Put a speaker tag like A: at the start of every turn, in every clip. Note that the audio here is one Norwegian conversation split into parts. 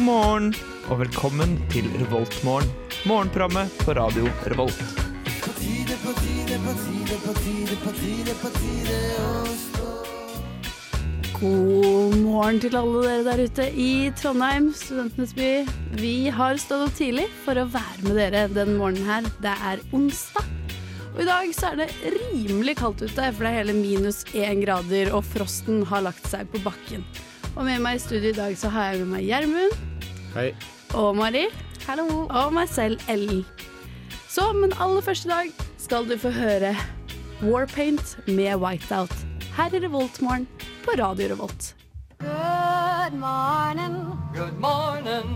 A: morgen og velkommen til Revoltmorgen. Morgenprogrammet på radio Revolt.
B: God morgen til alle dere der ute i Trondheim, studentenes by. Vi har stått opp tidlig for å være med dere den morgenen her. Det er onsdag. Og i dag så er det rimelig kaldt ute, for det er hele minus én grader, og frosten har lagt seg på bakken. Og med meg i studio i dag så har jeg med meg Gjermund
C: Hei.
B: og Mari. Og meg selv, Ellen. Så, men aller først i dag skal du få høre Warpaint med Whiteout. Her i Revoltmorgen på Radio Revolt.
D: Good morning,
E: Good morning.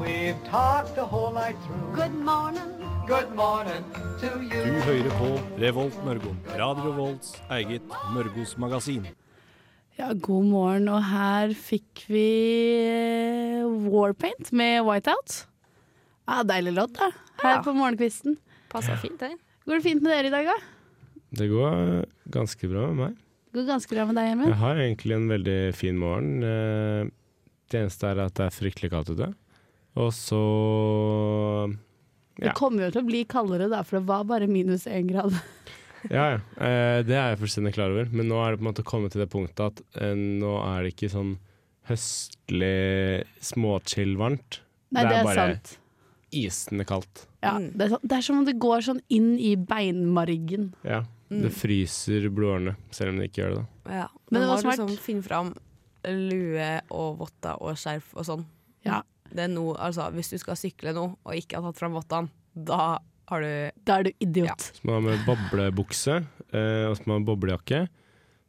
E: We've talked the whole night through.
D: good morning.
E: Good morning to
C: Du
E: you.
C: hører på Revolt Mørgo. Radio Revolts eget Mørgos magasin.
B: Ja, god morgen, og her fikk vi eh, Warpaint med Whiteout. Ja, deilig låt, da. Her
F: Ja.
B: på morgenkvisten.
F: Passa fint der.
B: Går det fint med dere i dag, da?
G: Det går eh, ganske bra med meg.
B: Går det ganske bra med deg,
G: Jeg
B: Gjermund?
G: har egentlig en veldig fin morgen. Eh, Det eneste er at det er fryktelig kaldt ute. Og så
B: Det kommer jo til å bli kaldere, da, for det var bare minus én grad.
G: Ja, ja. Eh, Det er jeg fullstendig klar over. Men nå er det på en måte kommet til det punktet at eh, nå er det ikke sånn høstlig småchill varmt.
B: Nei, det er,
G: bare
B: sant.
G: isende kaldt.
B: Ja, det, er sant. det er som om det går sånn inn i beinmargen.
G: Ja.
B: Mm.
G: Det fryser blodårene, selv om det ikke gjør det. da.
F: Ja.
B: Men det var
F: Man må
B: smart.
F: Liksom finne fram lue og votter og skjerf og sånn.
B: Ja,
F: Det er noe, altså, hvis du skal sykle nå og ikke har tatt fram vottene, da har du
B: Da er du idiot.
G: Så må du ha med boblebukse, eh, og så må du ha med boblejakke.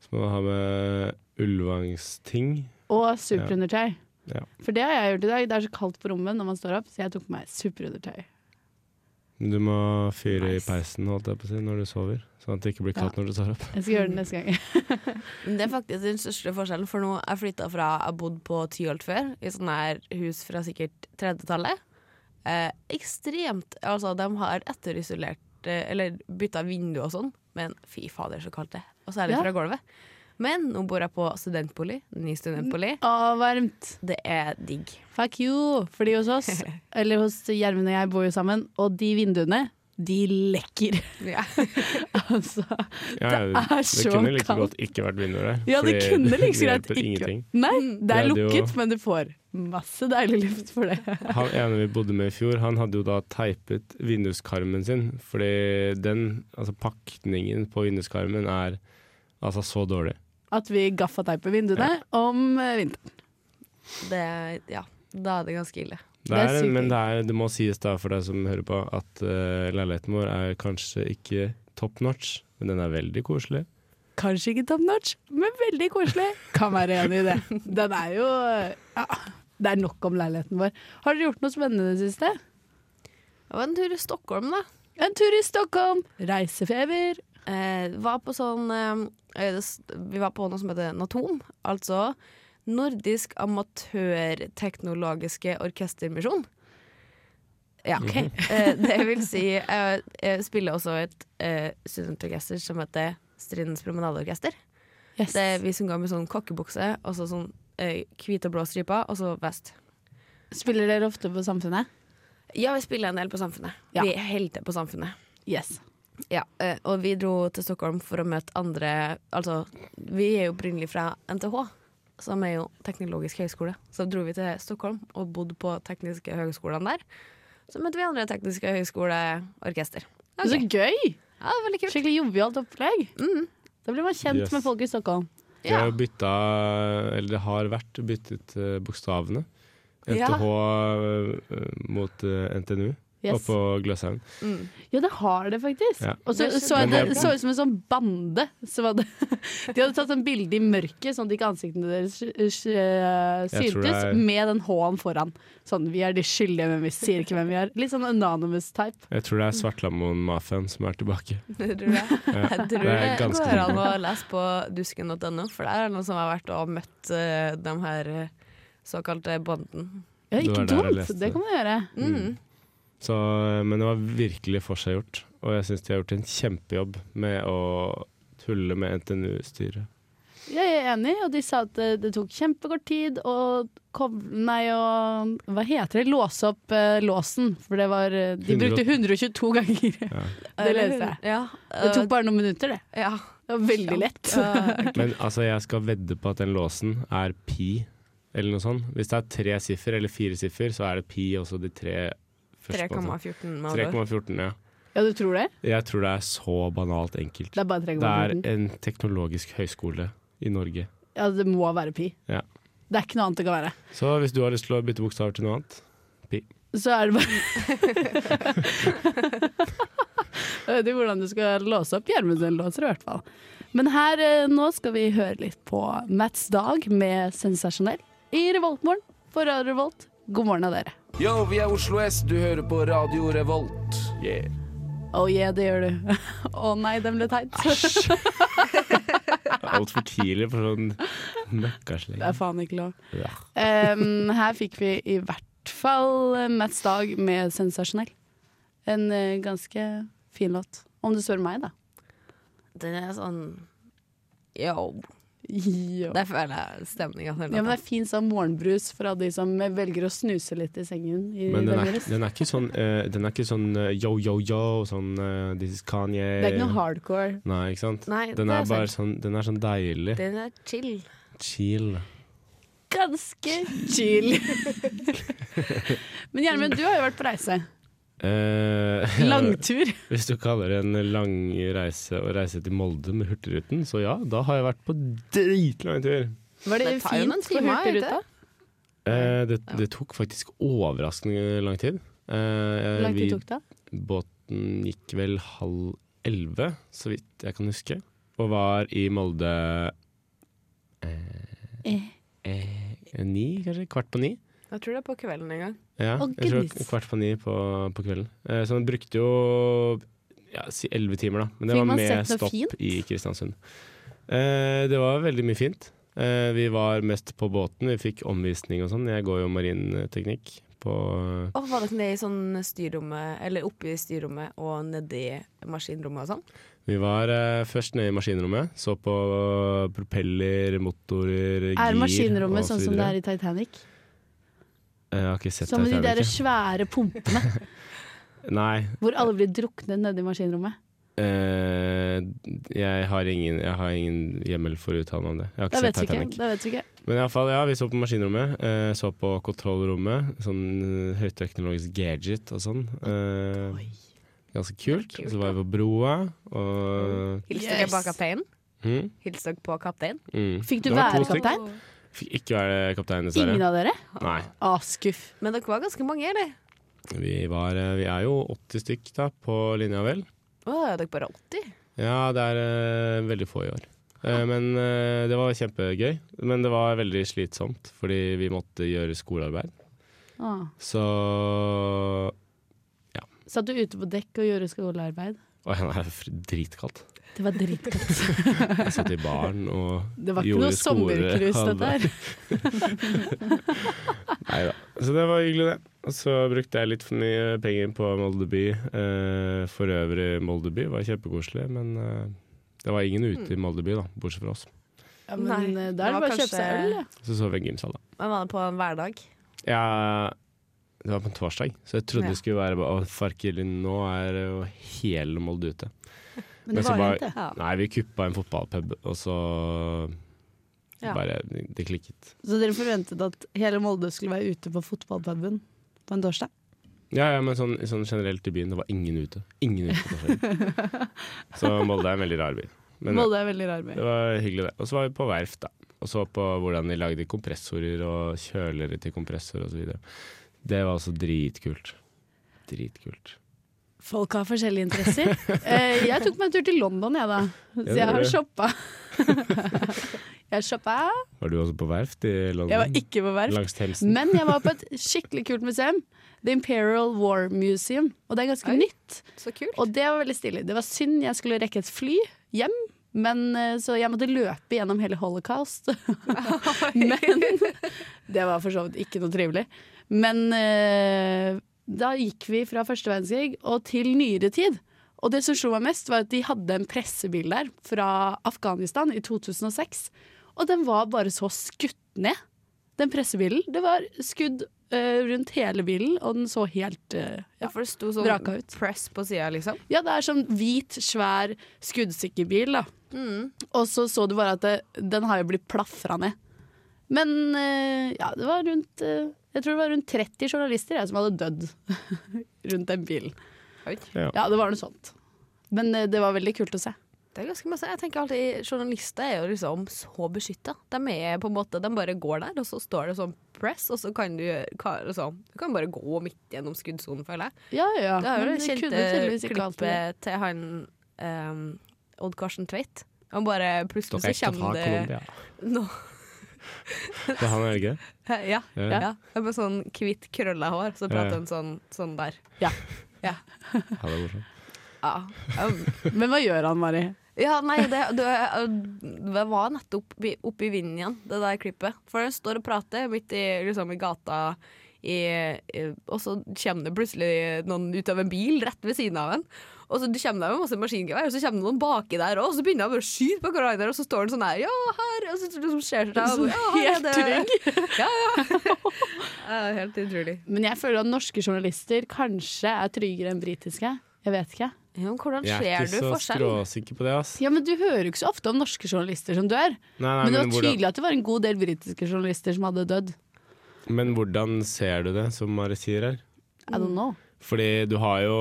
G: Så må du ha med ullvangsting.
B: Og superundertøy.
G: Ja.
B: For det har jeg gjort i dag. Det er så kaldt på rommet når man står opp, så jeg tok på meg superundertøy.
G: Du må fyre
F: Nice.
G: i peisen holdt jeg på å si, når du sover, sånn at det ikke blir kaldt når du står opp.
B: Jeg skal gjøre det neste gang.
F: Men Det er faktisk den største forskjellen, for nå jeg flytta fra Jeg bodde på Tyholt før, i sånne her hus fra sikkert 30-tallet. Eh, ekstremt Altså, de har etterisolert eh, Eller bytta vindu og sånn, men fy fader, så kaldt det er. Og særlig
B: Ja.
F: fra gulvet. Men nå bor jeg på studentbolig. Ny studentbolig.
B: Å, varmt.
F: Det er digg.
B: Fuck you! Fordi hos oss, eller hos Gjermund og jeg bor jo sammen, og de vinduene, de lekker.
F: Ja.
B: altså.
G: Ja, ja,
B: Det er så
G: Det kunne like
B: kaldt.
G: godt ikke vært vinduer der.
B: Ja, det
G: fordi
B: kunne liksom
G: det
B: greit
G: hjelper
B: ikke
G: ingenting. Mm.
B: Nei, det er
G: Ja, det er jo-
B: lukket, men du får masse deilig luft for det.
G: Han ene vi bodde med i fjor, han hadde jo da teipet vinduskarmen sin, fordi den, altså pakningen på vinduskarmen er altså så dårlig.
B: At vi gaffateiper vinduene om eh, vinteren.
F: Det, ja. Da er det ganske ille.
G: Det
B: Det er
G: er,
B: sykt
G: men det, er, det må sies da for deg som hører på, at eh, leiligheten vår er kanskje ikke top notch, men den er veldig koselig.
B: Kanskje ikke top notch, men veldig koselig. Kan være enig i det. Den er jo ja, Det er nok om leiligheten vår. Har dere gjort noe spennende i det siste?
F: Det var en tur i Stockholm, da.
B: En tur i Stockholm, reisefeber.
F: Eh, var på sånn eh, det s- Vi var på noe som heter Natom. Altså Nordisk amatørteknologiske orkestermisjon. Ja. Eh, det vil si eh, Jeg spiller også et eh, studentorkester som heter Strindens promenadeorkester.
B: Yes.
F: Det er vi som går med sånn kokkebukse og så sånn eh, hvite og blå striper, og så vest.
B: Spiller dere ofte på Samfunnet?
F: Ja, vi spiller en del på Samfunnet.
B: Ja.
F: Vi er helter på Samfunnet.
B: Yes.
F: Ja, eh, og vi dro til Stockholm for å møte andre Altså, vi er jo opprinnelig fra NTH, som er jo teknologisk høgskole. Så dro vi til Stockholm og bodde på tekniske høgskolene der. Så møtte vi andre tekniske høgskoleorkester.
B: Så gøy!
F: Ja, det var veldig kult. Mm.
B: Skikkelig jovialt opplegg. Da blir man kjent
G: Yes.
B: med folk i Stockholm.
G: De har jo bytta, eller det har vært byttet eh, bokstavene.
F: Ja.
G: NTH eh, mot eh, NTNU
B: Yes.
G: oppå Gløshaugen.
F: Mm.
B: Ja, det har det faktisk.
G: Ja.
B: Og så
F: Det er så
B: så jeg
G: gøy.
B: det så ut som en sånn bande. Som hadde, de hadde tatt en bilde i mørket, sånn at ikke ansiktene deres eh, sk- sk-
G: Jeg tror det
B: syntes,
G: er-
B: med den H-en foran. Sånn 'vi er de skyldige, men vi sier ikke hvem vi er'. Litt sånn anonymous type.
G: Jeg tror det er Svartlamoen-mafiaen som er tilbake.
F: Tror du det? Jeg tror
G: det
F: det,
G: er ganske
F: går an
G: mye.
F: å lese på dusken.no, for der er det noen som har vært og møtt eh, de her eh, såkalte Mm. bånden.
B: Ja,
G: Det
B: ikke
G: var der jeg
B: dumt.
G: leste
B: Det kan man gjøre.
G: Mm. Så, eh, men det var virkelig forseggjort, og jeg syns de har gjort en kjempejobb med å tulle med NTNU-styret.
B: Jeg er enig, og de sa at eh, det tok kjempekort tid å koble meg og Hva heter det? Låse opp eh, låsen, for det var eh, De brukte 122 ganger. Det leste jeg.
F: Ja, eh,
B: Det tok bare noen minutter, det.
F: ja.
B: Det var veldig lett.
F: Eh,
G: Men altså, jeg skal vedde på at den låsen er pi, eller noe sånt. Hvis det er tre siffer eller fire siffer, så er det pi også de tre første. altså. på en
F: 3,14 med
G: måte.
F: andre ord.
G: 3,14, ja.
B: Ja, du tror det?
G: Jeg tror det er så banalt enkelt.
B: Det er bare
G: Det er
B: 3,14.
G: en teknologisk høyskole i Norge.
B: Ja, det må være pi.
G: Ja.
B: Det er ikke noe annet det kan være.
G: Så hvis du har lyst til å bytte bokstaver til noe annet
B: Så er det bare Jeg vet ikke hvordan du skal låse opp Gjermundsen-låser, i hvert fall. Men her eh, nå skal vi høre litt på Mats Dag med 'Sensasjonell' i Revoltmorgen på Radio Revolt. God morgen av dere.
H: Yo, vi er Oslo S, du hører på Radio Revolt. Yeah.
B: Å Oh yeah, det gjør du. Å nei, den ble teit.
G: Altfor tidlig for sånn
B: Det
G: møkkasleng.
B: er faen ikke lov.
G: Ja.
B: Em, her fikk vi i hvert fall Mats Dag med 'Sensasjonell'. En eh, ganske fin låt. Om du spør meg, da.
F: Den er sånn Yo.
B: Ja.
F: Der føler jeg stemninga.
B: Ja, men det er fin sånn morgenbrus fra de som velger å snuse litt i sengen. I
G: Men den er,
B: deres.
G: den er ikke sånn eh, Den er ikke sånn eh, yo, yo, yo, sånn eh, This is Kanye.
B: det er ikke noe hardcore.
G: Nei, ikke sant?
F: Nei,
G: Den
F: det
G: er
F: er
G: bare sånn, den er sånn deilig.
F: Den er chill.
G: Chill.
B: Ganske chill. men Gjermund, du har jo vært på reise.
G: Eh,
B: Langtur.
G: Hvis du kaller det en lang reise å reise til Molde med Hurtigruten, så ja, da har jeg vært på dritlang tur.
B: Var det,
F: Det tar jo noen
B: fint på
F: timer,
B: Hurtigruta?
G: Eh, det, det tok faktisk overraskende lang tid. Eh,
B: Hvor lang tid
G: vi-
B: tok det?
G: Båten gikk vel halv elleve, så vidt jeg kan huske, og var i Molde eh, eh, ni, kanskje? Kvart på ni.
F: Jeg tror det er på kvelden en gang.
G: Ja,
B: Å,
G: jeg tror
B: gud.
G: k- kvart på ni på, på kvelden. Eh, så den brukte jo ja, si elleve timer, da. Men det
B: Fikk
G: var
B: man
G: med
B: sett noe
G: stopp
B: fint?
G: i Kristiansund. Eh, det var veldig mye fint. Eh, vi var mest på båten, vi fikk omvisning og sånn. Jeg går jo marinteknikk på
F: Å, var det nede i sånn styrrommet, eller oppe i styrrommet og nedi maskinrommet og sånn?
G: Vi var eh, først nede i maskinrommet, så på propeller, motorer, gir
B: Er maskinrommet sånn som det er
G: i
B: i Titanic?
G: Eh, Jeg har ikke sett
B: Som med de der
G: Titanic, jeg.
B: svære pumpene
G: Nei,
B: hvor alle blir druknet nedi maskinrommet?
G: eh, jeg, har ingen, jeg har ingen hjemmel for å uttale meg om det. Jeg har
B: Det
G: ikke
B: vet
G: sett
B: vi ikke.
G: Titanic.
B: Det vet vi ikke.
G: Men i alle fall, ja, vi så på maskinrommet, eh, så på kontrollrommet, sånn eh, høyteknologisk gadget og sånn. Eh, ganske kult.
F: Det er kult,
G: Så var vi på broa, og
F: Hilste dere
B: Yes.
F: på kapteinen?
G: mm,
F: Hilste dere på kapteinen?
G: mm.
B: Fikk du
G: Det var to
B: være
G: stykk.
B: kaptein?
G: Fikk ikke være kaptein,
B: Ingen
G: dessverre.
B: av dere?
G: Nei.
B: Å, skuff.
F: Men dere var ganske mange, eller?
G: Vi, var, eh, vi er jo 80 stykk da, på linja vel.
F: Å, er dere bare 80?
G: Ja, det er eh, veldig få i år. Eh, men eh, det var kjempegøy. Men det var veldig slitsomt, fordi vi måtte gjøre skolearbeid.
B: Å.
G: Så
B: Satt du ute på dekk og gjorde skolearbeid?
G: Å, ja, det er fr- dritkaldt.
B: Det var dritgodt.
G: Jeg satt i baren og
B: Det var ikke
G: gjorde
B: noe sommercruise,
G: skole-
B: dette her.
G: Neida. Så det var hyggelig, det. Og så brukte jeg litt for mye penger på Molde by. Eh, for øvrig, Molde by var kjempekoselig, men eh, det var ingen ute
B: Mm.
G: i Molde by, da, bortsett fra oss.
B: Ja, men
F: Nei,
B: eh,
F: det
B: da er det
F: var
B: bare å kjøpe seg
F: kanskje-
B: øl. ja.
G: Så så vi en gymsal, da.
F: Men var det på en hverdag?
G: Ja, det var på en torsdag, så jeg trodde
F: Ja.
G: det skulle være bare, Å, farkeli, nå er jo hele Molde ute.
B: Men
G: Men
B: det var
G: så
B: jo
G: bare-
B: ikke det.
F: Ja.
G: Nei, vi kuppa en fotballpub, og så
F: Ja.
G: bare Det klikket.
B: Så dere forventet at hele Molde skulle være ute på fotballpuben på en torsdag?
G: Ja, ja, men sånn, sånn generelt i byen, det var ingen ute. Ingen ute på torsdag. så Molde er en veldig rar by. Men
B: Molde er veldig rar by.
G: Det var hyggelig, det. Og så var vi på verft, da. Og så på hvordan de lagde kompressorer og kjølere til kompressor osv. Det var også dritkult. Dritkult.
B: Folk har forskjellige interesser. Eh, jeg tok meg en tur til London, jeg da.
G: Ja,
B: Så jeg har
G: det-
B: shoppa. jeg shoppa.
G: Var du også på verft i London?
B: Jeg var ikke på verft.
G: Langs Themsen?
B: Men jeg var på et skikkelig kult museum. The Imperial War Museum. Og det er ganske
F: Oi.
B: nytt.
F: Så kult.
B: Og det var veldig stilig. Det var synd jeg skulle rekke et fly hjem, men, eh, så jeg måtte løpe gjennom hele holocaust. Men det var for så vidt ikke noe trivelig. Men eh, da gikk vi fra første verdenskrig og til nyere tid. Og det som slo meg mest, var at de hadde en pressebil der fra Afghanistan i 2006. Og den var bare så skutt ned, den pressebilen. Det var skudd eh, rundt hele bilen, og den så helt eh, ja.
F: for det sto sånn
B: Vraka ut.
F: press på sida, liksom.
B: ja, det er sånn hvit, svær, skuddsikker bil, da.
F: Mm.
B: Og så så du bare at det, den har jo blitt plafra ned. Men eh, ja, det var rundt eh, Jeg tror det var rundt 30 journalister jeg, som hadde dødd rundt den bilen.
F: Oi.
G: Ja.
B: Ja, det var noe sånt. Men eh, det var veldig kult å se.
F: Det er ganske masse. Jeg tenker alltid Journalister er jo liksom så beskytta. De er på en måte De bare går der, og så står det sånn press, og så kan du gjøre hva- altså, Du kan bare gå midt gjennom skuddsonen, føler jeg.
B: Ja, ja.
F: Det er jo
B: men
F: det
B: kunne tydeligvis
F: kjente
B: ikke alt det.
F: klippet til han ehm, Odd Karsten Tveit. Han bare plutselig
G: Dere er
F: så
G: ikke fra
F: kommer det
G: Colombia.
F: no,
G: Det er han er det ikke?
F: Ja.
G: Ja.
F: ja. Det er Med sånn hvitt, krølla hår, så
G: Ja.
F: prater han sånn, sånn der.
G: Ja, det er morsomt.
F: Ja. Um,
B: Men hva gjør han, Mari?
F: Ja, nei, det, det, det var nettopp oppe i- oppe i vinden igjen, det der klippet. For den står og prater midt i, liksom, i gata, i, i, og så kommer det plutselig noen ut av en bil rett ved siden av en. Og så kommer det med masse maskingevær, og så kommer det noen baki der òg, og så begynner de bare å skyte på hverandre, og så står han sånn her, ja, her, og så liksom ser seg
B: Så
F: og, ja, her er
B: helt
F: det. Ja, ja. ja helt utrolig.
B: Men jeg føler at norske journalister kanskje er tryggere enn britiske. Jeg vet ikke.
F: Ja, men hvordan
G: Jeg er
F: ser
G: ikke
F: du
G: så
F: forskjell?
G: skråsikker på det, ass.
B: Ja, men Du hører jo ikke så ofte om norske journalister som dør.
G: Nei, nei,
B: Men det var
G: hvordan-
B: tydelig at det var en god del britiske journalister som hadde dødd.
G: Men hvordan ser du det, som Mari sier her?
B: I don't know.
G: Fordi du har jo,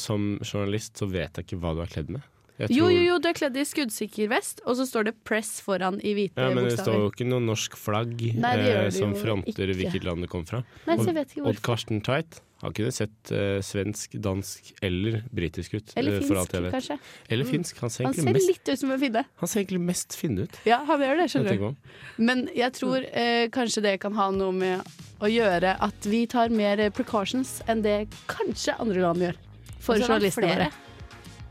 G: som journalist, så vet jeg ikke hva du er kledd med. Jeg
B: Jo,
G: tror-
B: jo, jo, du er kledd i skuddsikker vest, og så står det 'press' foran i hvite
G: Ja, men det står
B: bokstaver.
G: jo ikke noe norsk flagg
B: Nei, det gjør
G: eh,
B: det
G: som
B: jo
G: fronter
B: ikke.
G: hvilket land det kom fra.
B: Nei, så jeg vet ikke
G: Odd
B: hvorfor.
G: Karsten Tveit har kunne sett eh, svensk, dansk eller britisk ut.
B: Eller
G: eh, for alt
B: finsk,
G: jeg vet.
B: kanskje. Mm.
G: Eller finsk. Han ser
B: Han
G: egentlig
B: ser
G: mest,
B: litt ut som en finne.
G: han ser egentlig mest finne ut.
B: Ja, han gjør det,
G: når jeg
B: skjønner du.
G: tenker meg om.
B: Men jeg tror eh, kanskje det kan ha noe med å gjøre at vi tar mer eh, precautions enn det kanskje andre land gjør. For
F: Og så er det
B: journalistene våre.
F: flere.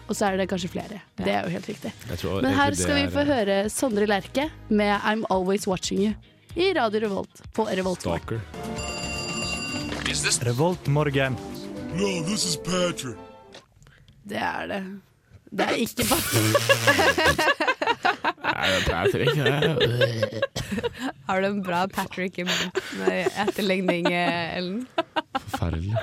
B: Og så er det kanskje flere. Det er jo helt riktig.
G: Jeg tror
B: Men
G: egentlig
B: her
G: det
B: skal vi
G: er,
B: få
G: eh,
B: høre Sondre Lerche med I'm Always Watching You i Radio Revolt på Revolt Smart.
G: Stalker.
A: Revolt morgen.
B: Det er det. Det er ikke bare
G: Nei, det er frekk, det er-
F: Har du en bra Patrick i med etterligning, eh, Ellen?
G: Forferdelig.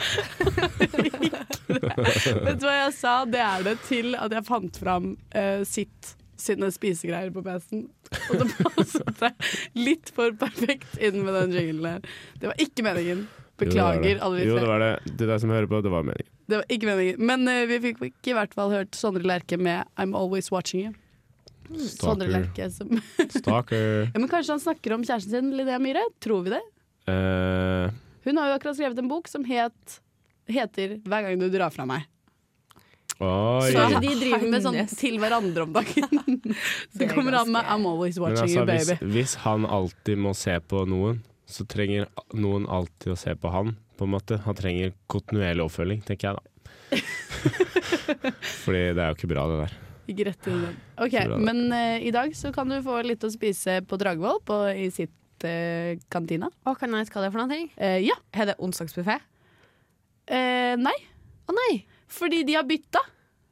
B: Vet du hva jeg sa? Det er det til at jeg fant fram eh, sitt sine spisegreier på PC-en. Og det passet seg litt for perfekt inn med den jinglen her. Det var ikke meningen. Beklager, alle de
G: Jo, det
B: tre.
G: var det. Det der som hører på, det var meningen.
B: Det var ikke meningen. Men eh, vi fikk ikke i hvert fall hørt Sondre Lerche med 'I'm Always Watching You'. Mm,
G: Mm.
B: Sondre
G: Stalker.
B: Lerche som
G: Stalker.
B: ja, Men kanskje han snakker om kjæresten sin, Linnea Myhre? Tror vi det?
G: Eh,
B: Hun har jo akkurat skrevet en bok som het, heter 'Hver gang du drar fra meg'.
G: oi.
B: Så
F: Ja.
B: de driver med sånn
F: Hannes.
B: til hverandre om dagen. Så
F: Det er
B: kommer han med
F: ganske-
B: 'I'm always
G: Men
B: watching you,
G: altså,
B: baby'.
G: hvis, hvis han alltid må se på noen, så trenger noen alltid å se på han, på en måte. Han trenger kontinuerlig oppfølging, tenker jeg da. Fordi det er jo ikke bra, det der.
B: Ikke rett inn i den. Ok,
G: Bra.
B: Men eh, i dag så kan du få litt å spise på Dragvoll, på, i sitt eh, kantina.
F: Å, kan jeg vite hva det er for noe? ting?
B: Eh, ja.
F: Er det onsdagsbuffé?
B: Eh, nei.
F: Å nei!
B: Fordi de har bytta.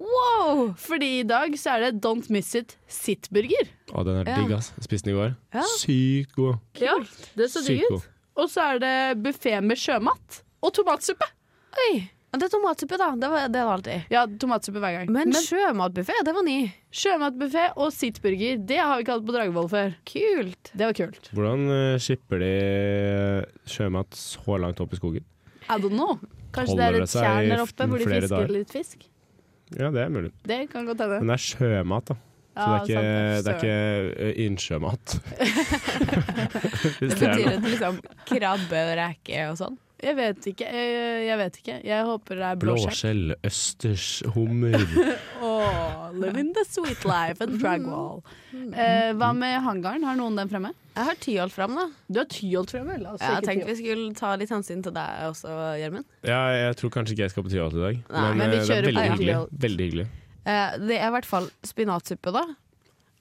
F: Wow!
B: Fordi i dag så er det Don't Miss It Sitt-burger.
G: Å, den er
F: Ja.
G: digg, ass. Jeg Spiste den i går.
F: Ja.
G: Sykt god.
B: Ja, det så digg
G: Sykt
B: ut.
G: god.
B: Og så er det buffé med sjømat. Og tomatsuppe.
F: Oi! Ja, Det er tomatsuppe, da. Det var det var alltid.
B: Ja, tomatsuppe hver gang.
F: Men, sjømatbuffé, det var ny.
B: sjømatbuffé og sittburger, det har vi ikke hatt på Dragvoll før.
F: Kult.
B: Det var kult.
G: Hvordan eh, skipper de eh, sjømat så langt opp i skogen?
B: I don't know. Kanskje det
G: Holder
B: er
G: det
B: et
G: seg
B: tjern
G: i
B: der oppe hvor de
G: flere
B: fisker
G: dager?
B: litt fisk.
G: Ja, det er mulig.
B: Det kan godt hende.
G: Men det er sjømat, da. Så
B: Ja,
G: det er ikke,
B: sant,
G: det er ikke eh, innsjømat. Hvis det er
F: Betyr
G: noe.
F: det liksom krabbe og reke og sånn?
B: Jeg vet ikke. eh, Jeg vet ikke. Jeg håper det er blåskjell.
G: Blåskjell, østers, hummer.
B: Åh, living the sweet life and drag wall. Eh, hva med hangaren? Har noen den fremme?
F: Jeg har Tyholt fram, da.
B: Du har Tyholt fremme. La oss
F: Jeg
B: ikke
F: tenkte
B: Tyholt.
F: vi skulle ta litt hensyn til deg også, Gjermund.
G: Ja, jeg tror kanskje ikke jeg skal på Tyholt i dag.
F: Nei,
G: men
B: men vi
G: eh, det er
B: kjører
G: veldig
B: på
G: hyggelig.
B: Tyholt.
G: Veldig hyggelig.
F: Eh, det er i hvert fall spinatsuppe, da.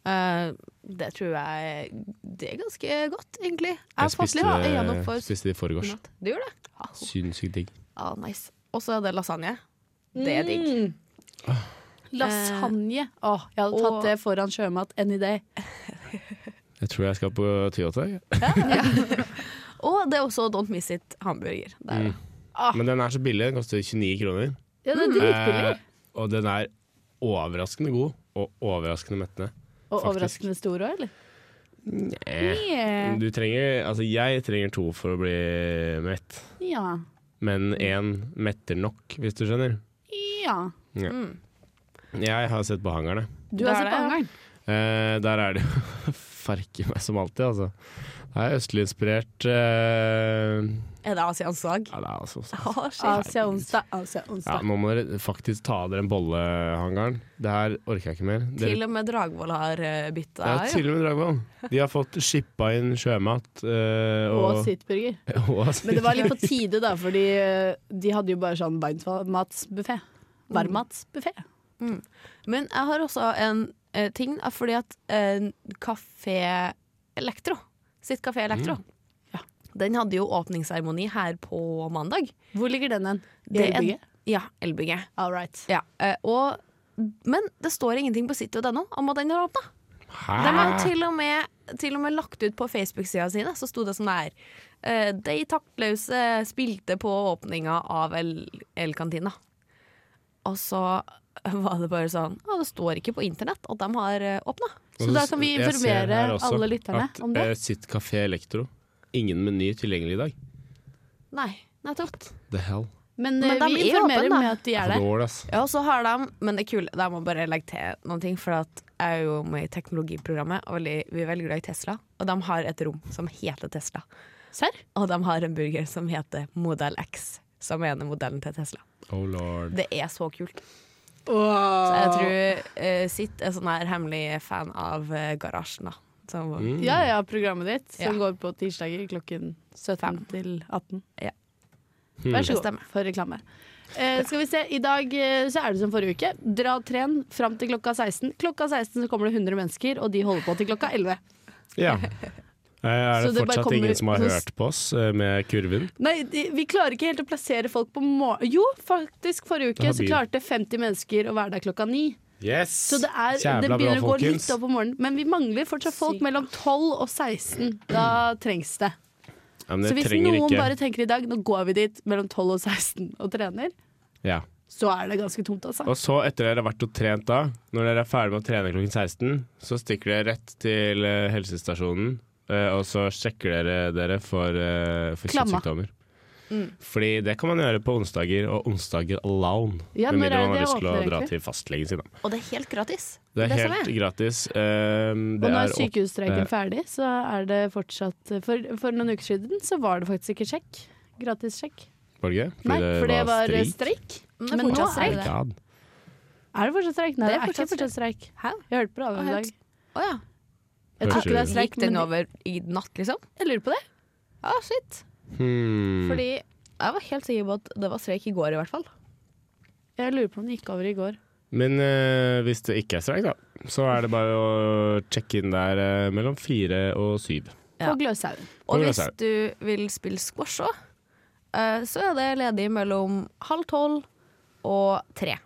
F: Eh, det tror jeg Det er ganske godt, egentlig. Jeg,
G: Jeg
F: passelig har sånn øynene opp
G: spiste, eh,
F: for
G: spiste det i forgårs.
F: spinat. Du gjør det? Ah,
G: Sinnssykt digg.
F: ah, nice. Og så er det lasagne. Det er digg.
B: Mm. Lasagne. Eh, Åh, jeg hadde
F: Og-
B: tatt det foran sjømat any day.
G: Jeg tror jeg skal på Tyhotai.
F: Og det er også Don't Miss It hamburger. Der.
G: Mm. Men den er så billig. Den koster 29 kroner.
B: Ja, det er Ah. dritbillig.
G: Eh, og den er overraskende god og overraskende mettende.
B: Og
G: faktisk.
B: overraskende stor òg, eller?
G: Du trenger Altså, jeg trenger to for å bli mett,
B: Ja.
G: men én metter nok, hvis du skjønner.
B: ja.
G: Jeg har sett på hangerne.
B: Du altså har sett
F: Det er det.
B: Angeren?
G: Eh, der er det jo farke meg som alltid, altså. Det er østlig-inspirert eh,
F: Er det Asians dag?
G: Ja, det er altså
F: Ah, shit.
B: Asia onsdag, Asia
G: ja,
B: onsdag.
G: Nå må dere faktisk ta av dere en bolle, hangaren. Det her orker jeg ikke mer. Dere,
F: Til og med Dragvoll har eh, bytta
G: ja,
F: her.
G: til og med Dragvoll. De har fått shippa inn sjømat eh,
B: Og
G: og,
B: Sitburger.
G: og
B: Men det var litt på tide, da, fordi eh, de hadde jo bare sånn beinmatsbuffé.
F: Mm.
B: Varmmatsbuffé.
F: Men jeg har også en eh, ting, eh, fordi at uh, Kafé Elektro, sitt Kafé Elektro,
G: Mm.
F: ja. den hadde jo åpningsseremoni her på mandag.
B: Hvor ligger den hen? I
F: Det er-
B: Elbygget?
F: Ja, Elbygget.
B: All right.
F: Ja, eh, og, men det står ingenting på city.no om at den har åpna.
G: Hæ?
F: De har til og med, til og med lagt ut på Facebook-sida sine, så sto det sånn der eh, De taktløse spilte på åpninga av El- El-kantina. og så var det bare sånn Ja, det står ikke på internett at de har eh, åpna.
B: Så da kan vi
G: Jeg ser
B: informere
G: her også
B: alle lytterne
G: at,
B: om det.
G: eh, sitt Kafé Elektro. Ingen meny tilgjengelig i dag.
F: Nei, nettopp.
G: The hell.
B: Men,
F: Men
B: eh,
F: de
B: vi
F: er åpen,
B: informerer
F: da.
B: med at de er
G: For
B: der.
G: dårlig, ass.
F: Ja, og så har de Men det er kult, jeg må bare legge til noen ting, for at jeg er jo med i teknologiprogrammet, og veldig, vi er veldig glad i Tesla. Og de har et rom som heter Tesla.
B: Serr?
F: Og de har en burger som heter Model X, som er en av modellen til Tesla.
G: Oh lord.
F: Det er så kult. Så jeg tror eh, Sitt er sånn her hemmelig fan av eh, garasjen, da. Som,
B: Ja ja, programmet ditt som
F: Ja.
B: går på tirsdager klokken 17 til 18.
F: Ja.
G: Hmm.
B: Vær så
F: Det
B: god
F: stemmer.
B: for reklame. Eh, skal vi se, I dag eh, så er det som forrige uke. Dra og tren fram til klokka 16. Klokka 16 så kommer det 100 mennesker, og de holder på til klokka 11.
G: Ja. Eh, Er
B: Så
G: det
B: det bare
G: fortsatt
B: kommer
G: ingen som har
B: hos-
G: hørt på oss eh, med kurven?
B: Nei, de, vi klarer ikke helt å plassere folk på morgen... Jo, faktisk, forrige
G: Det
B: uke
G: har
B: så
G: bil.
B: klarte 50 mennesker å være der klokka ni.
G: Yes!
B: Så det, er, det begynner å gå litt opp om morgenen. Men vi mangler fortsatt folk mellom 12 og 16. Da trengs det.
G: Ja, men
B: Så
G: det
B: hvis
G: trenger
B: noen
G: ikke
B: bare tenker i dag nå går vi dit mellom 12 og 16 og trener,
G: ja.
B: så er det ganske tomt, altså.
G: Og så etter dere har vært og trent da, når dere er ferdig med å trene klokken 16, så stikker dere rett til eh, helsestasjonen, eh, og så sjekker dere dere for, eh, for
B: Klamma. Mm.
G: kjønnssykdommer. Fordi det kan man gjøre på onsdager, og onsdager alone.
B: Ja, når
G: med
B: er
G: mindre man
B: det
G: har lyst til å
B: åpner,
G: dra
B: egentlig? sånn,
G: til fastlegen sin. da.
F: Og det er helt gratis.
G: Det er
F: det som
G: helt gratis. eh,
B: Og nå
G: det
B: er
G: er åp-
B: sykehusstreiken
G: eh,
B: ferdig, så er det fortsatt For, for noen uker siden så var det faktisk ikke sjekk. Gratis sjekk.
G: Var det ikke? Fordi
B: Nei, for det var eh, streik.
F: Men det
B: Men
F: er
B: nå
F: fortsatt
B: er
F: streik.
B: det
G: My God.
B: Er det fortsatt streik? Nei, det
F: Det er
B: er ikke
F: fortsatt
B: fortsatt streik.
F: Hæ?
B: Jeg hørte på radioen i dag.
F: Å ja.
B: Jeg tror ikke det er streik,
F: Gikk den
B: men
F: over i natt, liksom?
B: jeg lurer på det.
F: Ja, shit.
G: Hmm.
F: Fordi jeg var helt sikker på at det var streik i går, i hvert fall.
B: Jeg lurer på om den gikk over i går.
G: Men eh, hvis det ikke er streik, da, så er det bare å sjekke inn der eh, mellom fire og syv.
F: Ja.
B: På Gløshaugen.
F: Og
G: Hvor er
F: hvis du vil spille squash òg, så er det ledig mellom halv tolv og tre.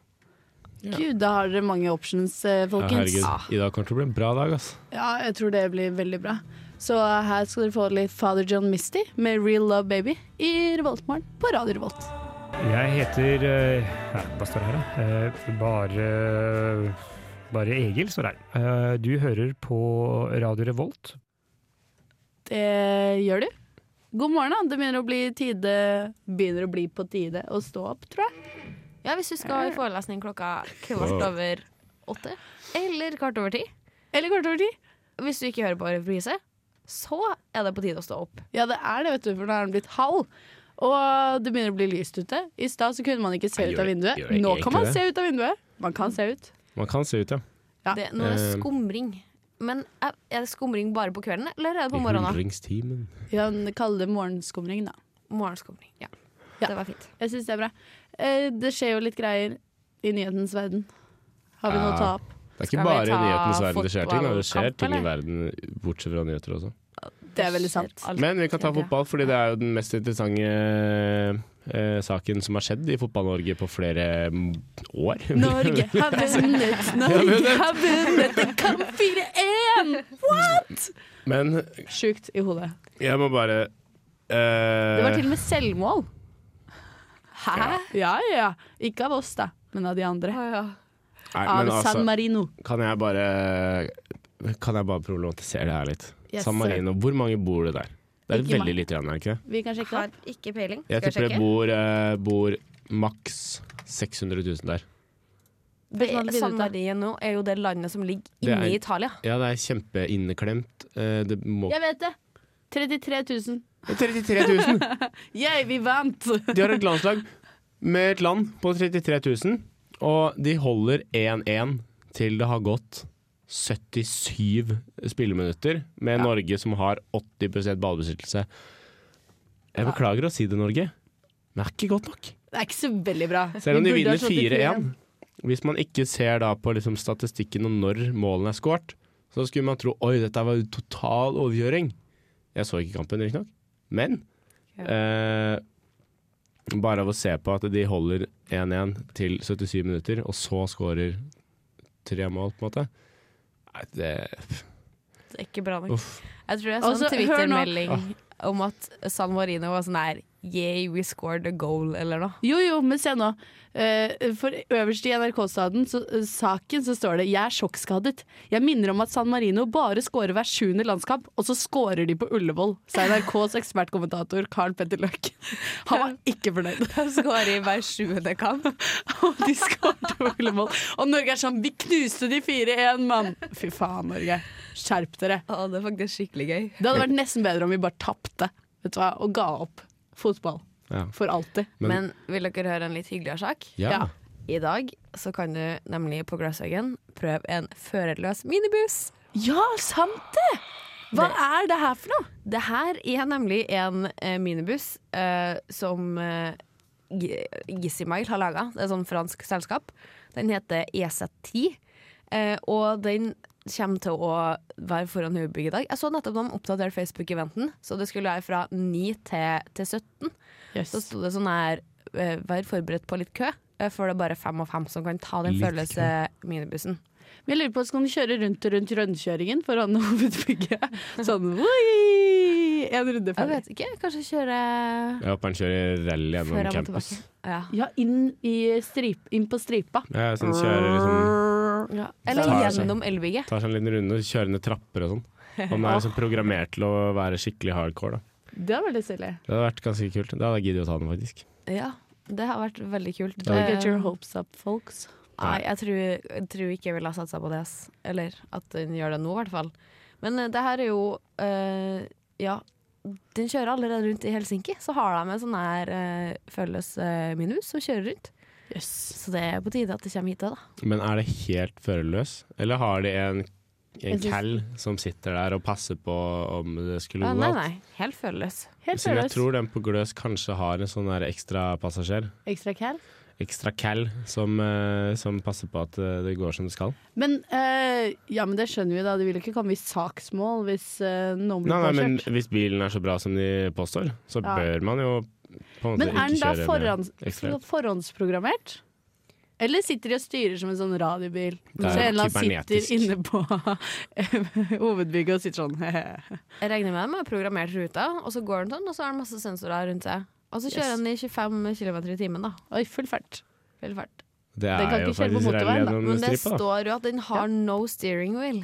B: Gud, da har dere mange options, eh,
G: Ja,
B: folkens.
G: herregud,
B: Ja,
F: Ah.
G: i dag kommer det til å bli en bra dag, ass.
B: jeg tror det blir veldig bra. Så her skal dere få litt Father John Misty med Real Love Baby i Revoltmorgen på Radio Revolt.
I: Jeg heter eh, Nei, hva står det her, da? Eh, Bare, bare Egil, står det her. Eh, Du hører på Radio Revolt.
B: Det gjør du. God morgen, da. Det begynner å bli tide Begynner å bli på tide å stå opp, tror jeg.
F: Ja, hvis du skal i forelesning klokka kvart
G: Wow.
F: over åtte, eller kvart over ti.
B: Eller kvart over ti.
F: Hvis du ikke hører på reprise, så er det på tide å stå opp.
B: Ja, det er det, vet du, for nå er den blitt halv. Og det begynner å bli lyst ute. I stad så kunne man ikke se
G: Nei,
B: ut av
G: gjør-
B: vinduet.
G: gjør jeg
B: Nå kan man
G: egentlig det?
B: se ut av vinduet. Man kan se ut.
G: Man kan se ut, ja.
B: Ja.
F: Det, nå er det
G: Eh.
F: skumring. Men er er det skumring bare på kvelden, eller er det på
G: I
F: morgenen?
G: Hundringstimen.
B: Ja, Kall det morgenskumring, da.
F: Morgenskumring. Ja.
B: Ja.
F: Det var fint.
B: Jeg syns det er bra. Eh, det skjer jo litt greier i nyhetens verden. Har vi noe
G: Eh,
B: å ta opp?
G: Det er
F: Skal vi
G: ikke bare i
F: ta
G: nyhetens verden det skjer ting, da. det skjer
F: fotballkamp,
G: ting i
F: eller?
G: verden bortsett fra nyheter også.
B: Det er veldig sant.
F: Alt.
G: Men vi kan ta
F: Ja.
G: fotball, fordi det er jo den mest interessante eh, saken som har skjedd i Fotball-Norge på flere mm, år.
B: Norge har vunnet, Norge har vunnet, det kan 4-1!
G: Men
F: Sjukt i hodet.
G: jeg må bare eh,
F: Det var til og med selvmål.
B: Hæ? Ja, ja, ja. Ikke av oss, da, men av de andre.
G: nei,
B: Av
G: men altså,
B: San Marino.
G: Kan jeg bare Kan jeg bare problematisere det her litt?
F: Yes,
G: San Marino, hvor mange bor det der? Det er
F: Ikke
G: veldig lite grann, er det ikke? det?
F: Vi kan sjekke
D: Har
F: opp.
D: ikke peiling.
G: Jeg
D: Skal jeg
G: tipper det
D: sjekke?
G: bor, eh, bor maks 600 000 der.
B: Kan du finne
F: San
B: ut av?
F: Marino er jo det landet som ligger
G: Det er-
F: inni Italia.
G: Ja, det er kjempeinneklemt. Eh, det må
B: Jeg vet det. 33 000.
G: 33 000!
B: Yeah, vi vant!
G: De har et landslag med et land på 33 000, og de holder 1-1 til det har gått 77 spilleminutter, med Norge som har 80 ballbesittelse. Jeg beklager å si det, Norge, men det er ikke godt nok.
B: Det er ikke så veldig bra.
G: Selv om
B: Vi
G: de
B: burde ha
G: vinner
B: slått i
G: 4-1. Hvis man ikke ser da på liksom statistikken og når målene er skåret, så skulle man tro oi, dette var total overkjøring. Jeg så ikke kampen, riktignok, men eh, bare av å se på at de holder 1-1 til 77 minutter, og så skårer tre mål, på en måte. Nei, det
F: Det er ikke bra nok.
G: Uff. Ah.
F: Jeg tror jeg
B: Og så,
F: så en
B: hør nå.
F: Twitter-melding om at San Marino var sånn her Yeah, we scored a goal, eller noe.
B: Jo, jo, men se nå. Eh, For øverst i NRK-staden, så, eh, saken, så står det 'Jeg er sjokkskadet'. Jeg minner om at San Marino bare scorer hver sjuende landskamp, og så scorer de på Ullevål, sa NRKs ekspertkommentator Carl Petter Løk. Han var ikke fornøyd.
F: De skårer i hver sjuende kamp.
B: Og de skåret på Ullevål. Og Norge er sånn 'Vi knuste de 4-1, mann'. Fy faen, Norge. Skjerp dere.
F: Å, det er faktisk skikkelig gøy.
B: Det hadde vært nesten bedre om vi bare tapte vet du hva, og ga opp fotball.
G: Ja.
B: For alltid.
G: Men-
F: Men, vil dere høre en litt hyggeligere sak?
G: Ja.
B: Ja.
F: I dag så kan du nemlig på Glasshagen prøve en førerløs minibuss.
B: Ja, sant det! Hva er det her for noe?
F: Det her er nemlig en eh, minibuss eh, som eh, Gi- Gizimile har laga. Det er et sånn fransk selskap. Den heter EZ10, eh, og den kommer til å være foran hovedbygget i dag. Jeg så nettopp de oppdaterte Facebook-eventen, så det skulle være fra 9 til, til 17. Så sto det sånn her eh, Vær forberedt på litt kø, eh, for det er bare fem av fem som kan ta den
G: Litt
F: følelse minibussen.
B: Men Jeg lurer på, Skal den kjøre rundt og rundt rundkjøringen foran hovedbygget? Sånn oi, en runde
F: Jeg
B: ferdig.
F: vet ikke, kanskje kjøre
G: Jeg håper han kjører rally
F: før
G: gjennom
F: jeg må
G: campus.
F: tilbake. Ja.
B: Ja, inn, i strip, inn på stripa.
G: Ja, sånn kjører liksom
F: Mm, Ja. Eller
G: Tar seg.
F: gjennom elbygget.
G: Tar seg en liten runde, kjører ned trapper og sånn. Han er liksom programmert til å være skikkelig hardcore. Da.
B: Det var veldig stilig.
G: Det hadde vært ganske kult. Da hadde jeg giddet å ta den, faktisk.
F: Ja, det har vært veldig kult.
G: Ja.
B: Get your
F: Det-
B: hopes up, folks.
F: Nei, jeg tror, jeg tror ikke jeg ville ha satsa på det. ass. Eller at den gjør det nå, i hvert fall. Men eh, det her er jo eh, Ja, den kjører allerede rundt i Helsinki. Så har de en sånn her uh, følges eh, minibus som kjører rundt.
B: Yes.
F: Så det er på tide at det kommer hit òg, da.
G: Men er det helt førerløs, eller har de en, en cal som sitter der og passer på om det skulle
F: Ah,
G: gå
F: nei,
G: galt?
F: nei. Helt føleløs.
B: Helt
G: Siden jeg
B: seriøst.
G: tror den på Gløs kanskje har en sånn der ekstra passasjer,
B: Ekstra cal.
G: ekstra cal, som, eh, som passer på at eh, det går som det skal.
B: Men, eh, ja, men det skjønner vi, da. De vil ikke komme i saksmål hvis eh, noen blir
G: Nei, nei, men
B: påkjørt.
G: hvis bilen er så bra som de påstår, så
B: Ja.
G: bør man jo på en måte
B: Men er den
G: ikke
B: da
G: kjøre
B: forhånds,
G: med ekstra hjelp.
B: forhåndsprogrammert? Eller sitter de og styrer som en sånn radiobil?
G: er
B: Så en eller annen
G: kybernetisk.
B: sitter inne på hovedbygget og sitter sånn
F: Jeg regner med dem har programmert ruta, og så går den sånn, og så har den masse sensorer rundt seg. Og så kjører
B: Yes.
F: den i 25 km i timen, da.
B: Oi, full fart.
F: Veldig fælt.
G: Det
B: den kan
G: er jo
B: ikke kjøre på
G: faktisk rally
B: motorveien, da,
G: gjennom
F: Men det
G: stripa, da.
F: står jo at den har no steering wheel.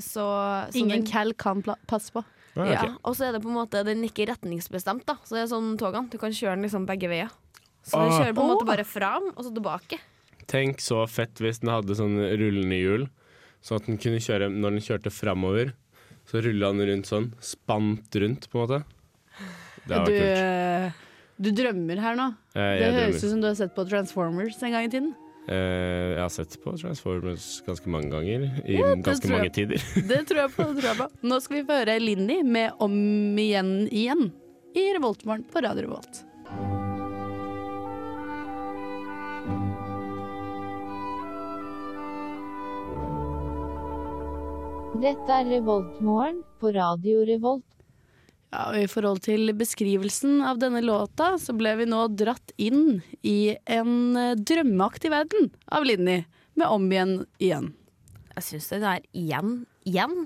F: Så, så
B: Ingen
F: den,
B: cal kan pla- passe på.
G: Ah, ok.
F: ja, Og så er det på en måte den er ikke retningsbestemt, da. Så det er sånn togene. Du kan kjøre den liksom begge veier. Så den
G: Ah.
F: kjører på en måte
B: Åh.
F: bare fram, og så tilbake.
G: Tenk så fett hvis den hadde sånn rullende hjul, sånn at den kunne kjøre Når den kjørte framover, så rulla den rundt sånn. Spant rundt, på en måte.
B: du,
G: Det hadde vært kult.
B: eh, du drømmer her nå.
G: Eh,
B: Det
G: jeg,
B: høres ut
G: drømmer.
B: som du har sett på Transformers en gang i tiden.
G: Eh, jeg har sett på Transformers ganske mange ganger, i ganske
B: tror
G: mange
B: jeg.
G: tider.
B: Det tror jeg på. Det tror jeg på. Nå skal vi få høre Linni med Om igjen igjen i Revoltmorgen på Radio Revolt.
J: Dette er Revoltmorgen på Radio Revolt.
B: Ja, og I forhold til beskrivelsen av denne låta, så ble vi nå dratt inn i en eh, drømmeaktig verden av Linni, med om igjen igjen.
F: Jeg syns det der igjen, igjen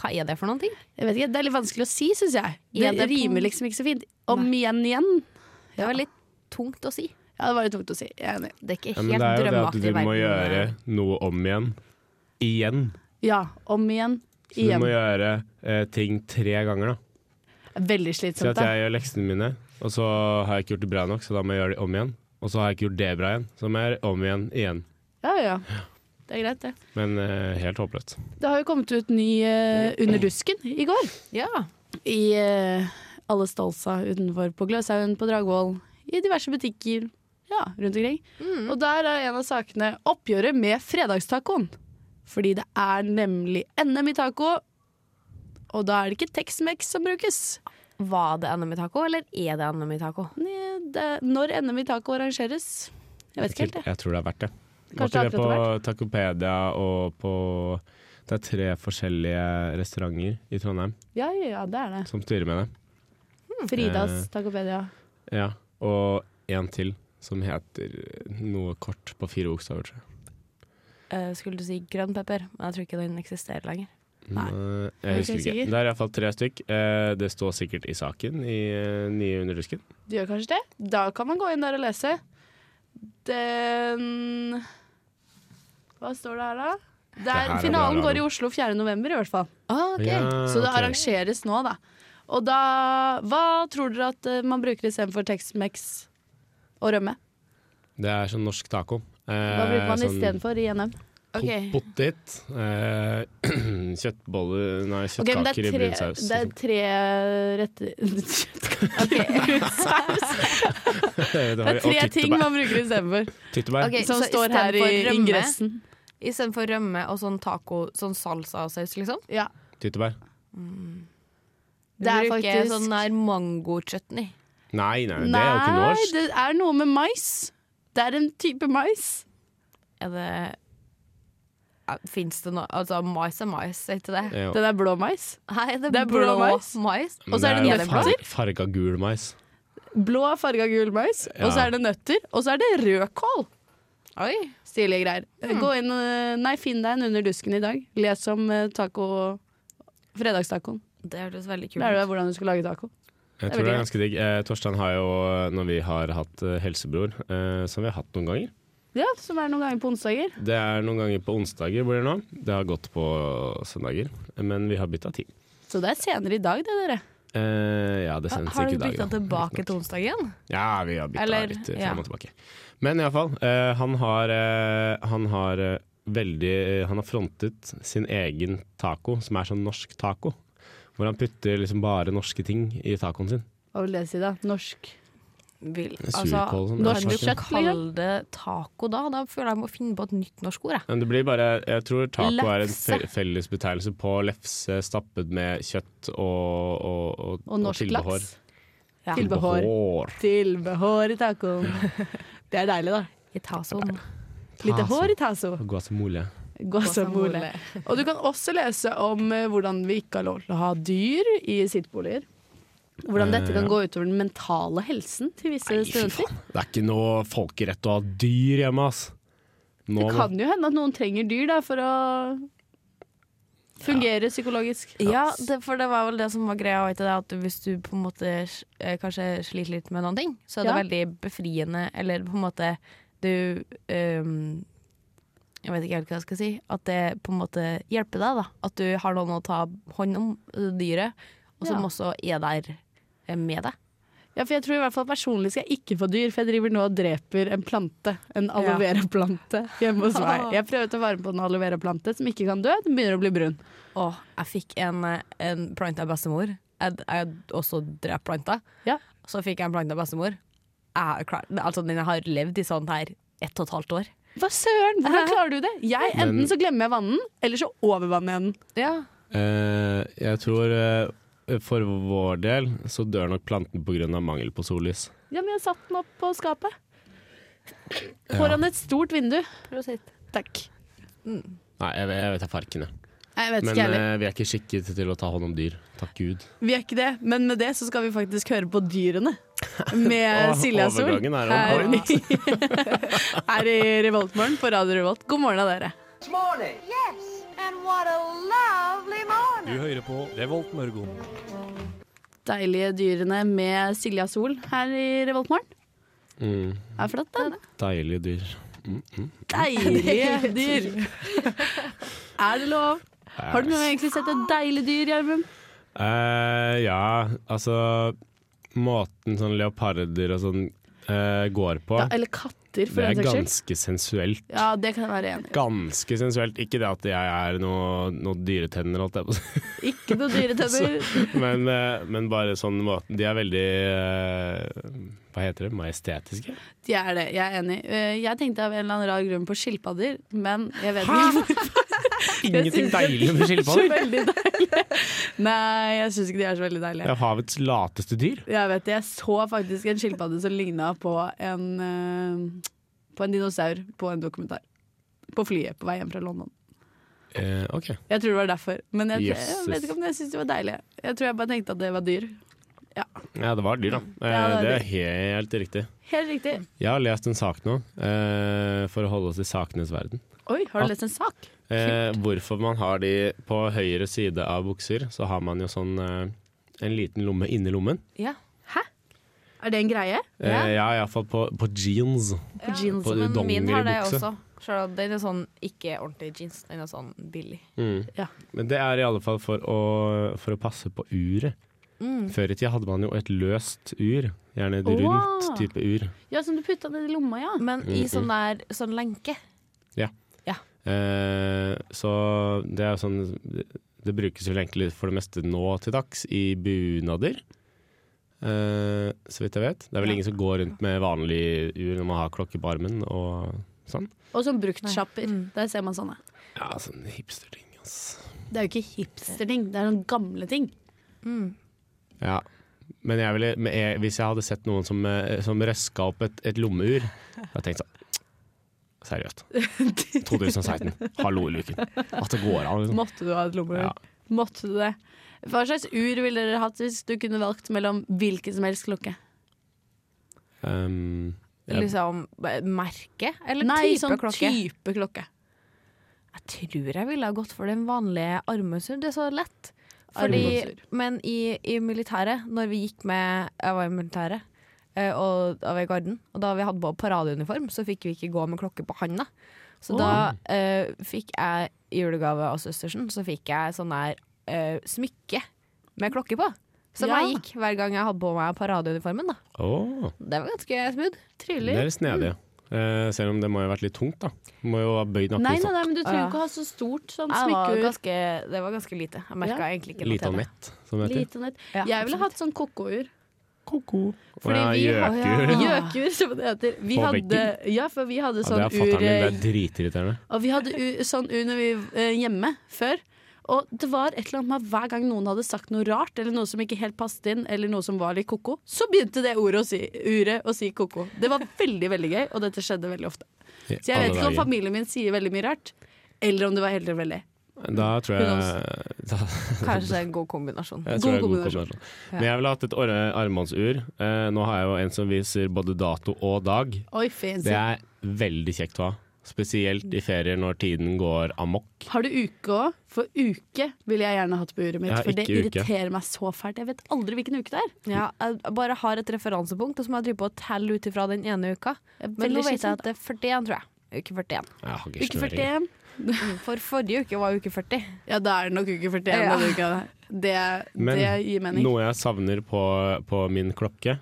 F: Hva er det for noen ting?
B: Jeg vet ikke, Det er litt vanskelig å si, syns jeg.
F: Ja,
B: Det
F: det er på-
B: rimer liksom ikke så fint. Om igjen igjen.
F: Det var litt tungt å si.
B: Ja, det var litt tungt å si. Jeg er enig.
F: Det er ikke
G: Ja,
F: helt
G: men det er jo det at
F: drømmeaktig
G: du må
F: verden. eh.
G: gjøre noe om igjen. Igjen.
B: Ja, om igjen
G: Så du
B: igjen.
G: må gjøre eh, ting tre ganger, da.
B: Veldig
G: Si
B: slitsomt.
G: at
B: da.
G: jeg gjør leksene mine, og så har jeg ikke gjort det bra nok, så da må jeg gjøre det om igjen. Og så har jeg ikke gjort det bra igjen, så må jeg gjøre om igjen igjen.
B: Ja, ja. Det er greit, det.
G: Men eh, helt håpløst.
B: Det har jo kommet ut ny eh, Under dusken i går.
F: Ja.
B: I eh, alle Stolsa utenfor på Gløshaugen, på Dragvoll, i diverse butikker ja, rundt omkring. Og der er en av sakene oppgjøret med fredagstacoen. Fordi det er nemlig NM i taco, og da er det ikke Tex-Mex som brukes.
F: Var det NM i taco, eller er det NM i taco?
B: Nei, Det, er- når NM i taco arrangeres Jeg vet ikke helt,
G: Jeg,
B: jeg.
G: tror det er verdt det.
B: Kanskje
G: Kanskje det
B: det er
G: på
B: akkurat
G: Tacopedia og på Det er tre forskjellige restauranter i Trondheim
B: Ja, ja, ja, det er det.
G: som styrer med det.
B: Fridas
G: Eh.
B: tacopedia.
G: Ja. Og én til som heter noe kort på fire bokstaver, tror jeg.
F: Eh, skulle du si grønn pepper, men jeg tror ikke den eksisterer lenger.
B: Nei.
G: Nei,
B: Er
G: jeg
B: du
G: husker
B: ikke
G: ikke.
B: sikker?
G: Det er iallfall tre stykk. Eh, Det står sikkert i saken i eh, nye Underdusken.
B: Du gjør kanskje det? Da kan man gå inn der og lese. Den Hva står det her, da? Det
G: her
B: er,
G: er bra
B: finalen
G: radio.
B: går i Oslo 4. november, i hvert fall.
F: Ah, ok.
B: Så det
G: ok.
B: arrangeres nå, da. Og da Hva tror dere at eh, man bruker istedenfor Tex-Mex og rømme?
G: Det er sånn norsk taco.
B: Hva bruker man
G: sånn
B: istedenfor i NM?
F: Ok.
G: po- Potet, eh, kjøttboller Nei,
B: Ok, men det
G: kjøttkaker i
B: er
G: brun
B: tre,
G: saus. liksom.
B: det er tre retter Det er tre ting man bruker istedenfor,
G: Tyttebær.
F: Ok,
B: som
F: så
B: står her i
F: istedenfor rømme-
B: ingressen.
F: Istedenfor rømme og sånn taco, sånn salsasaus, liksom.
B: Ja,
G: Tyttebær.
F: Du
B: det er
F: bruker
B: faktisk
F: sånn der mango-chutney.
G: Nei, nei, det er jo ikke
B: Nei,
G: norsk.
B: det er noe med mais. Det er en type mais.
F: Er det Fins det noe Altså, mais er mais, er ikke det?
G: Jo.
B: Den er blå mais.
F: Nei, det er,
B: Det er blå
F: blå,
B: mais.
F: mais.
G: Men
B: og så er det
G: jo
B: nøtter.
G: far- Farga gul mais.
B: Blå er farga gul mais, og så
G: Ja.
B: er det nøtter. Og så er det rødkål.
F: Oi.
B: Stilige greier. Gå inn, eh, nei, finn deg en under dusken i dag. Les om eh, taco Fredagstacoen.
F: Det hørtes veldig kult
B: Lærer du
F: ut.
B: deg hvordan du skal lage taco.
G: Jeg
B: Det er
G: tror det er
B: veldig
G: ganske digg. Eh, Torstein har jo, når vi har hatt eh, helsebror, eh, som vi har hatt noen ganger
B: Ja, Som er noen ganger på onsdager.
G: Det er noen ganger på onsdager blir det nå. Det har gått på søndager, men vi har bytta tid.
B: Så det er senere i dag, det, dere.
G: Eh, ja, det sendes
F: Har
G: ikke
F: du
G: i dag.
F: bytta
G: da.
F: tilbake
G: Riktig nok.
F: til onsdag igjen?
G: Ja, vi har bytta
F: Eller-
G: litt eh,
F: ja.
G: frem og tilbake. Men iallfall, uh, han har, eh, han har eh, veldig Han har frontet sin egen taco, som er sånn norsk taco. Hvor han putter liksom bare norske ting i tacoen sin.
B: Hva vil det si, da? Norsk.
F: Vil, altså,
G: Surkål og
B: Altså, norsk
G: sånn.
F: kan
B: kjøtt,
F: du ikke
B: liksom?
F: kalle det taco da? Da føler jeg jeg må finne på et nytt norsk ord. Jeg.
G: Men det blir bare Jeg tror taco er en
F: Lefse.
G: fe- fellesbetegnelse på lefse stappet med kjøtt og, og, og,
B: Og norsk
G: tilbehør.
B: laks. Tilbehør. Tilbehør i tacoen. Det er deilig, da.
F: I tasoen.
B: Lite
G: Taco.
B: hår i taco.
G: Guacamole.
B: Guacamole. Og du kan også lese om eh, hvordan vi ikke har lov til å ha dyr i sittboliger. Hvordan dette kan
G: Eh, ja.
B: gå utover den mentale helsen til visse
G: Nei, fy
B: studenter.
G: faen. Det er ikke noe folkerett å ha dyr hjemme, ass. Nå,
B: Det kan jo hende at noen trenger dyr da, for å fungere psykologisk.
F: Ja, det, for det var vel det som var greia. Vet du, det, at hvis du på en måte eh, kanskje sliter litt med noen ting, så er det
B: Ja.
F: veldig befriende. Eller på en måte du ehm, Jeg vet ikke helt hva jeg skal si. At det på en måte hjelper deg. da At du har noen å ta hånd om, eh, dyret, og som
B: Ja.
F: også er der eh, med deg.
B: Ja, for jeg tror i hvert fall personlig skal jeg ikke få dyr, for jeg driver nå og dreper en plante. En aloe
F: Ja.
B: vera-plante hjemme hos meg. Jeg prøver å ta vare på en aloe vera-plante som ikke kan dø. Den begynner å bli brun.
F: Åh, jeg fikk en, eh, en plante av bestemor. Jeg hadde også drept planta.
B: Ja.
F: Så fikk jeg en plante av bestemor. Jeg, er klar- altså, den har levd i sånn her ett og et halvt år.
B: Hva søren, hvordan klarer du det? Jeg, Enten så glemmer jeg vannen, eller så overvanner jeg den.
F: Ja.
G: Eh, jeg tror eh, for vår del så dør nok planten pga. mangel på sollys.
B: Ja, men jeg satte den opp på skapet. Foran et stort vindu. Takk.
G: Nei, jeg, jeg vet da farken, jeg.
B: Jeg vet
G: Men
B: ikke heller.
G: eh, vi er ikke skikket til å ta hånd om dyr. Takk Gud.
B: Vi er ikke det, men med det så skal vi faktisk høre på dyrene. Med
G: Å,
B: Silja Sol
G: overgangen er
B: her,
G: on
B: her i Revoltmorgen på Radio Revolt. God morgen av dere.
E: This morning.
D: Yes, and what a lovely
C: Du
D: morning.
C: hører på Revolt Mørgon.
B: Deilige dyrene med Silja Sol her i Revoltmorgen.
G: Mm.
B: Det er flott, da.
G: Deilige dyr. Mm, mm.
B: Deilige dyr. Er det lov? Har du noen gang egentlig sett et deilig dyr, Gjermund?
G: Eh, ja, altså Måten sånn leoparder og sånn eh, går på,
B: Ja, eller katter, for
G: det er
B: den saks skyld.
G: ganske sensuelt.
B: Ja, det kan jeg være enig i.
G: Ganske sensuelt. Ikke det at jeg er noe, noe dyretenner, holdt jeg på å si.
B: Ikke noe dyretenner.
G: men, eh, men bare sånn måten De er veldig eh, Hva heter det? Majestetiske?
B: De er det, jeg er enig. Eh, Jeg tenkte av en eller annen rar grunn på skilpadder, men jeg vet ikke hvorfor.
G: Ingenting deilig med skilpadder!
B: Veldig deilig. Nei, jeg syns ikke de er så veldig
G: Det
B: deilige.
G: er havets lateste dyr.
B: Jeg vet det, jeg så faktisk en skilpadde som ligna på en eh, På en dinosaur på en dokumentar. På flyet på vei hjem fra London.
G: Eh, ok.
B: Jeg tror det var derfor. Men jeg, jeg
G: Jesus.
B: vet ikke om jeg syntes de var deilige. Jeg tror jeg bare tenkte at det var dyr.
G: Ja, det var dyr, da. Eh,
B: Ja, det var
G: det er helt riktig.
B: Helt riktig.
G: Jeg har lest en sak nå, eh, for å holde oss i sakenes verden.
B: Oi, har du lest en sak?
G: Eh, hvorfor man har de på høyre side av bukser, så har man jo sånn eh, en liten lomme inni lommen.
F: Ja.
B: Er det en greie?
G: Eh,
F: Ja.
G: ja, iallfall på, på jeans.
B: På jeans.
G: På
F: Men min har det
G: dongeribukse.
F: også. Selv om den er sånn ikke ordentlig jeans, den er sånn billig.
G: Mm.
B: Ja.
G: Men det er i alle fall for å, for å passe på uret. Før i tida hadde man jo et løst ur. Gjerne et
B: Åh.
G: rundt type ur.
B: Ja, som du putta ned i lomma, ja.
F: Men i sånn der sånn lenke.
G: Eh, så det er jo sånn Det brukes vel egentlig for det meste nå til dags i bunader. Eh, så vidt jeg vet. Det er vel ingen som går rundt med vanlig ur når man har klokke på armen og sånn.
B: Og som bruktsjapper.
F: Mm.
B: Der ser man sånne.
G: Ja, sånn hipsterting, ass.
B: Det er jo ikke hipsterting, det er noen gamle ting.
F: Mm.
G: Ja. Men jeg ville, men jeg, hvis jeg hadde sett noen som, eh, som røska opp et, et lommeur, hadde jeg tenkt sånn Seriøst. 2016. Hallo, Luken. At det går an, liksom.
B: Måtte du ha et lommeur?
G: Ja.
B: Måtte du det? Hva slags ur ville dere hatt hvis du kunne valgt mellom hvilken som helst klokke?
G: Um, jeg-
F: Liksom eh, merke eller
B: Nei,
F: type
B: sånn
F: klokke.
B: type klokke.
F: Jeg tror jeg ville ha gått for den vanlige armbåndsur. Det er så lett.
B: Armbåndsur.
F: Fordi, men i, i militæret, når vi gikk med Jeg var i militæret, eh, og da var jeg i garden. Og da vi hadde på paradeuniform, så fikk vi ikke gå med klokke på handa. Så da eh, fikk jeg i julegave av søstersen, så fikk jeg sånn der eh, smykke med klokke på. Som
B: Ja.
F: jeg gikk hver gang jeg hadde på meg paradeuniformen. da
G: Åh,
F: Det var ganske smooth.
G: det er litt snedig. Eh, selv om det må jo ha vært litt tungt, da. Du må jo ha bøyd nakken
B: Nei, nei,
G: sånn.
B: nei, men du trenger
F: Ja.
B: ikke å ha så stort sånn
F: Jeg var
B: smykkeur.
F: ganske, det var ganske lite. Jeg merka egentlig ikke noe
G: Lite og
F: til det.
G: nett, som det heter.
B: Lite og nett.
F: Ja,
B: Jeg ville
F: absolutt.
B: hatt sånn koko-ur.
G: Ko-ko. Å
B: Fordi
G: ja,
B: vi har-
G: gjøkur.
F: Ah.
B: Gjøkur, som det heter. Vi
G: På
B: hadde,
G: veggen?
B: ja, for vi hadde
G: Ja, det
B: sånn
G: er
B: ur
G: fatter'n min. Det er dritirriterende.
B: Og vi hadde u sånn ur når vi eh, hjemme før. Og det var et eller annet med at hver gang noen hadde sagt noe rart, eller noe som ikke helt passet inn, eller noe som var litt ko-ko, så begynte det ordet å si, uret å si ko-ko. Det var veldig, veldig gøy, og dette skjedde veldig ofte.
G: I
B: Så jeg vet
G: alle
B: ikke om
G: dager.
B: familien min sier veldig mye rart, eller om det var helt tilfeldig.
G: Da tror
B: Who
G: jeg da,
F: Kanskje det er en god kombinasjon.
B: God
G: Jeg tror det er god
B: kombinasjon.
G: kombinasjon. Men jeg ville hatt et ar- armbåndsur. Eh, nå har jeg jo en som viser både dato og dag.
B: Oi, fancy.
G: Det er veldig kjekt å ha. Spesielt i ferier når tiden går amok.
B: Har du uke òg? For uke ville jeg gjerne hatt på uret mitt,
G: Jeg har
B: for det
G: ikke uke.
B: irriterer meg så fælt. Jeg vet aldri hvilken uke det er.
F: Ja, jeg bare har et referansepunkt, og så må jeg drive på å telle ut ifra den ene uka.
B: Det er
F: Men nå
B: veldig
F: vet jeg
B: slitsomt,
F: at det er 41, tror jeg. Uke 41.
G: Jeg har ikke
B: Uke
G: snøring.
B: 41.
F: For forrige uke var uke 40.
B: Ja, da er det nok uke 41
F: Ja.
B: denne uka. Det,
G: Men
B: det gir mening.
G: noe jeg savner på, på min klokke,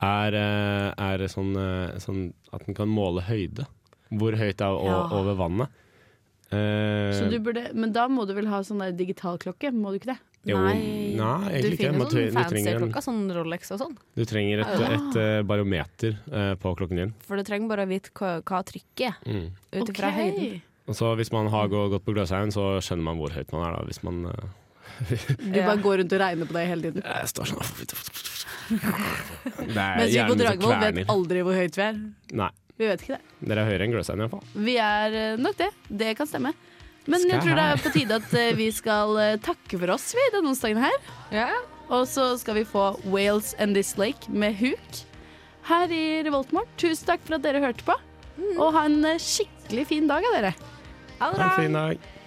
G: er, eh, er sånn, eh, sånn at den kan måle høyde. Hvor høyt det er o-
F: Ja.
G: over vannet. Eh,
B: Så du burde, men da må du vel ha sånn der digital klokke, må du ikke det?
G: jo, nei, egentlig
F: du
G: ikke.
F: finner
G: Man tre-
F: sånn
G: du
F: fancy
G: trenger en-
F: klokka, sånn Rolex og sånn.
G: Du trenger et, et eh, barometer eh, på klokken din.
F: For du trenger bare å vite hva, hva trykket er,
G: Mm.
F: ut ifra
B: Ok.
F: høyden.
G: Og så hvis man har gå- gått på Gløshaugen, så skjønner man hvor høyt man er da. Hvis man eh,
B: Du
F: Ja.
B: bare går rundt og regner på deg hele tiden.
G: jeg står sånn Det er
B: Mens vi på
G: hjernen som
B: Dragvoll vet
G: kverner.
B: aldri hvor høyt vi er.
G: Nei,
B: Vi vet ikke det.
G: dere er høyere enn Gløshaugen i hvert fall.
B: Vi er eh, nok det. Det kan stemme. Men jeg
G: Skal
B: tror det er på tide at eh, vi skal eh, takke for oss vi, denne onsdagen her.
F: Ja.
B: Og så skal vi få Wales and This Lake med Huk her i Revoltmorgen. Tusen takk for at dere hørte på, og ha en eh, skikkelig fin dag av dere.
F: Mm. Ha det bra.
G: Ha en fin dag.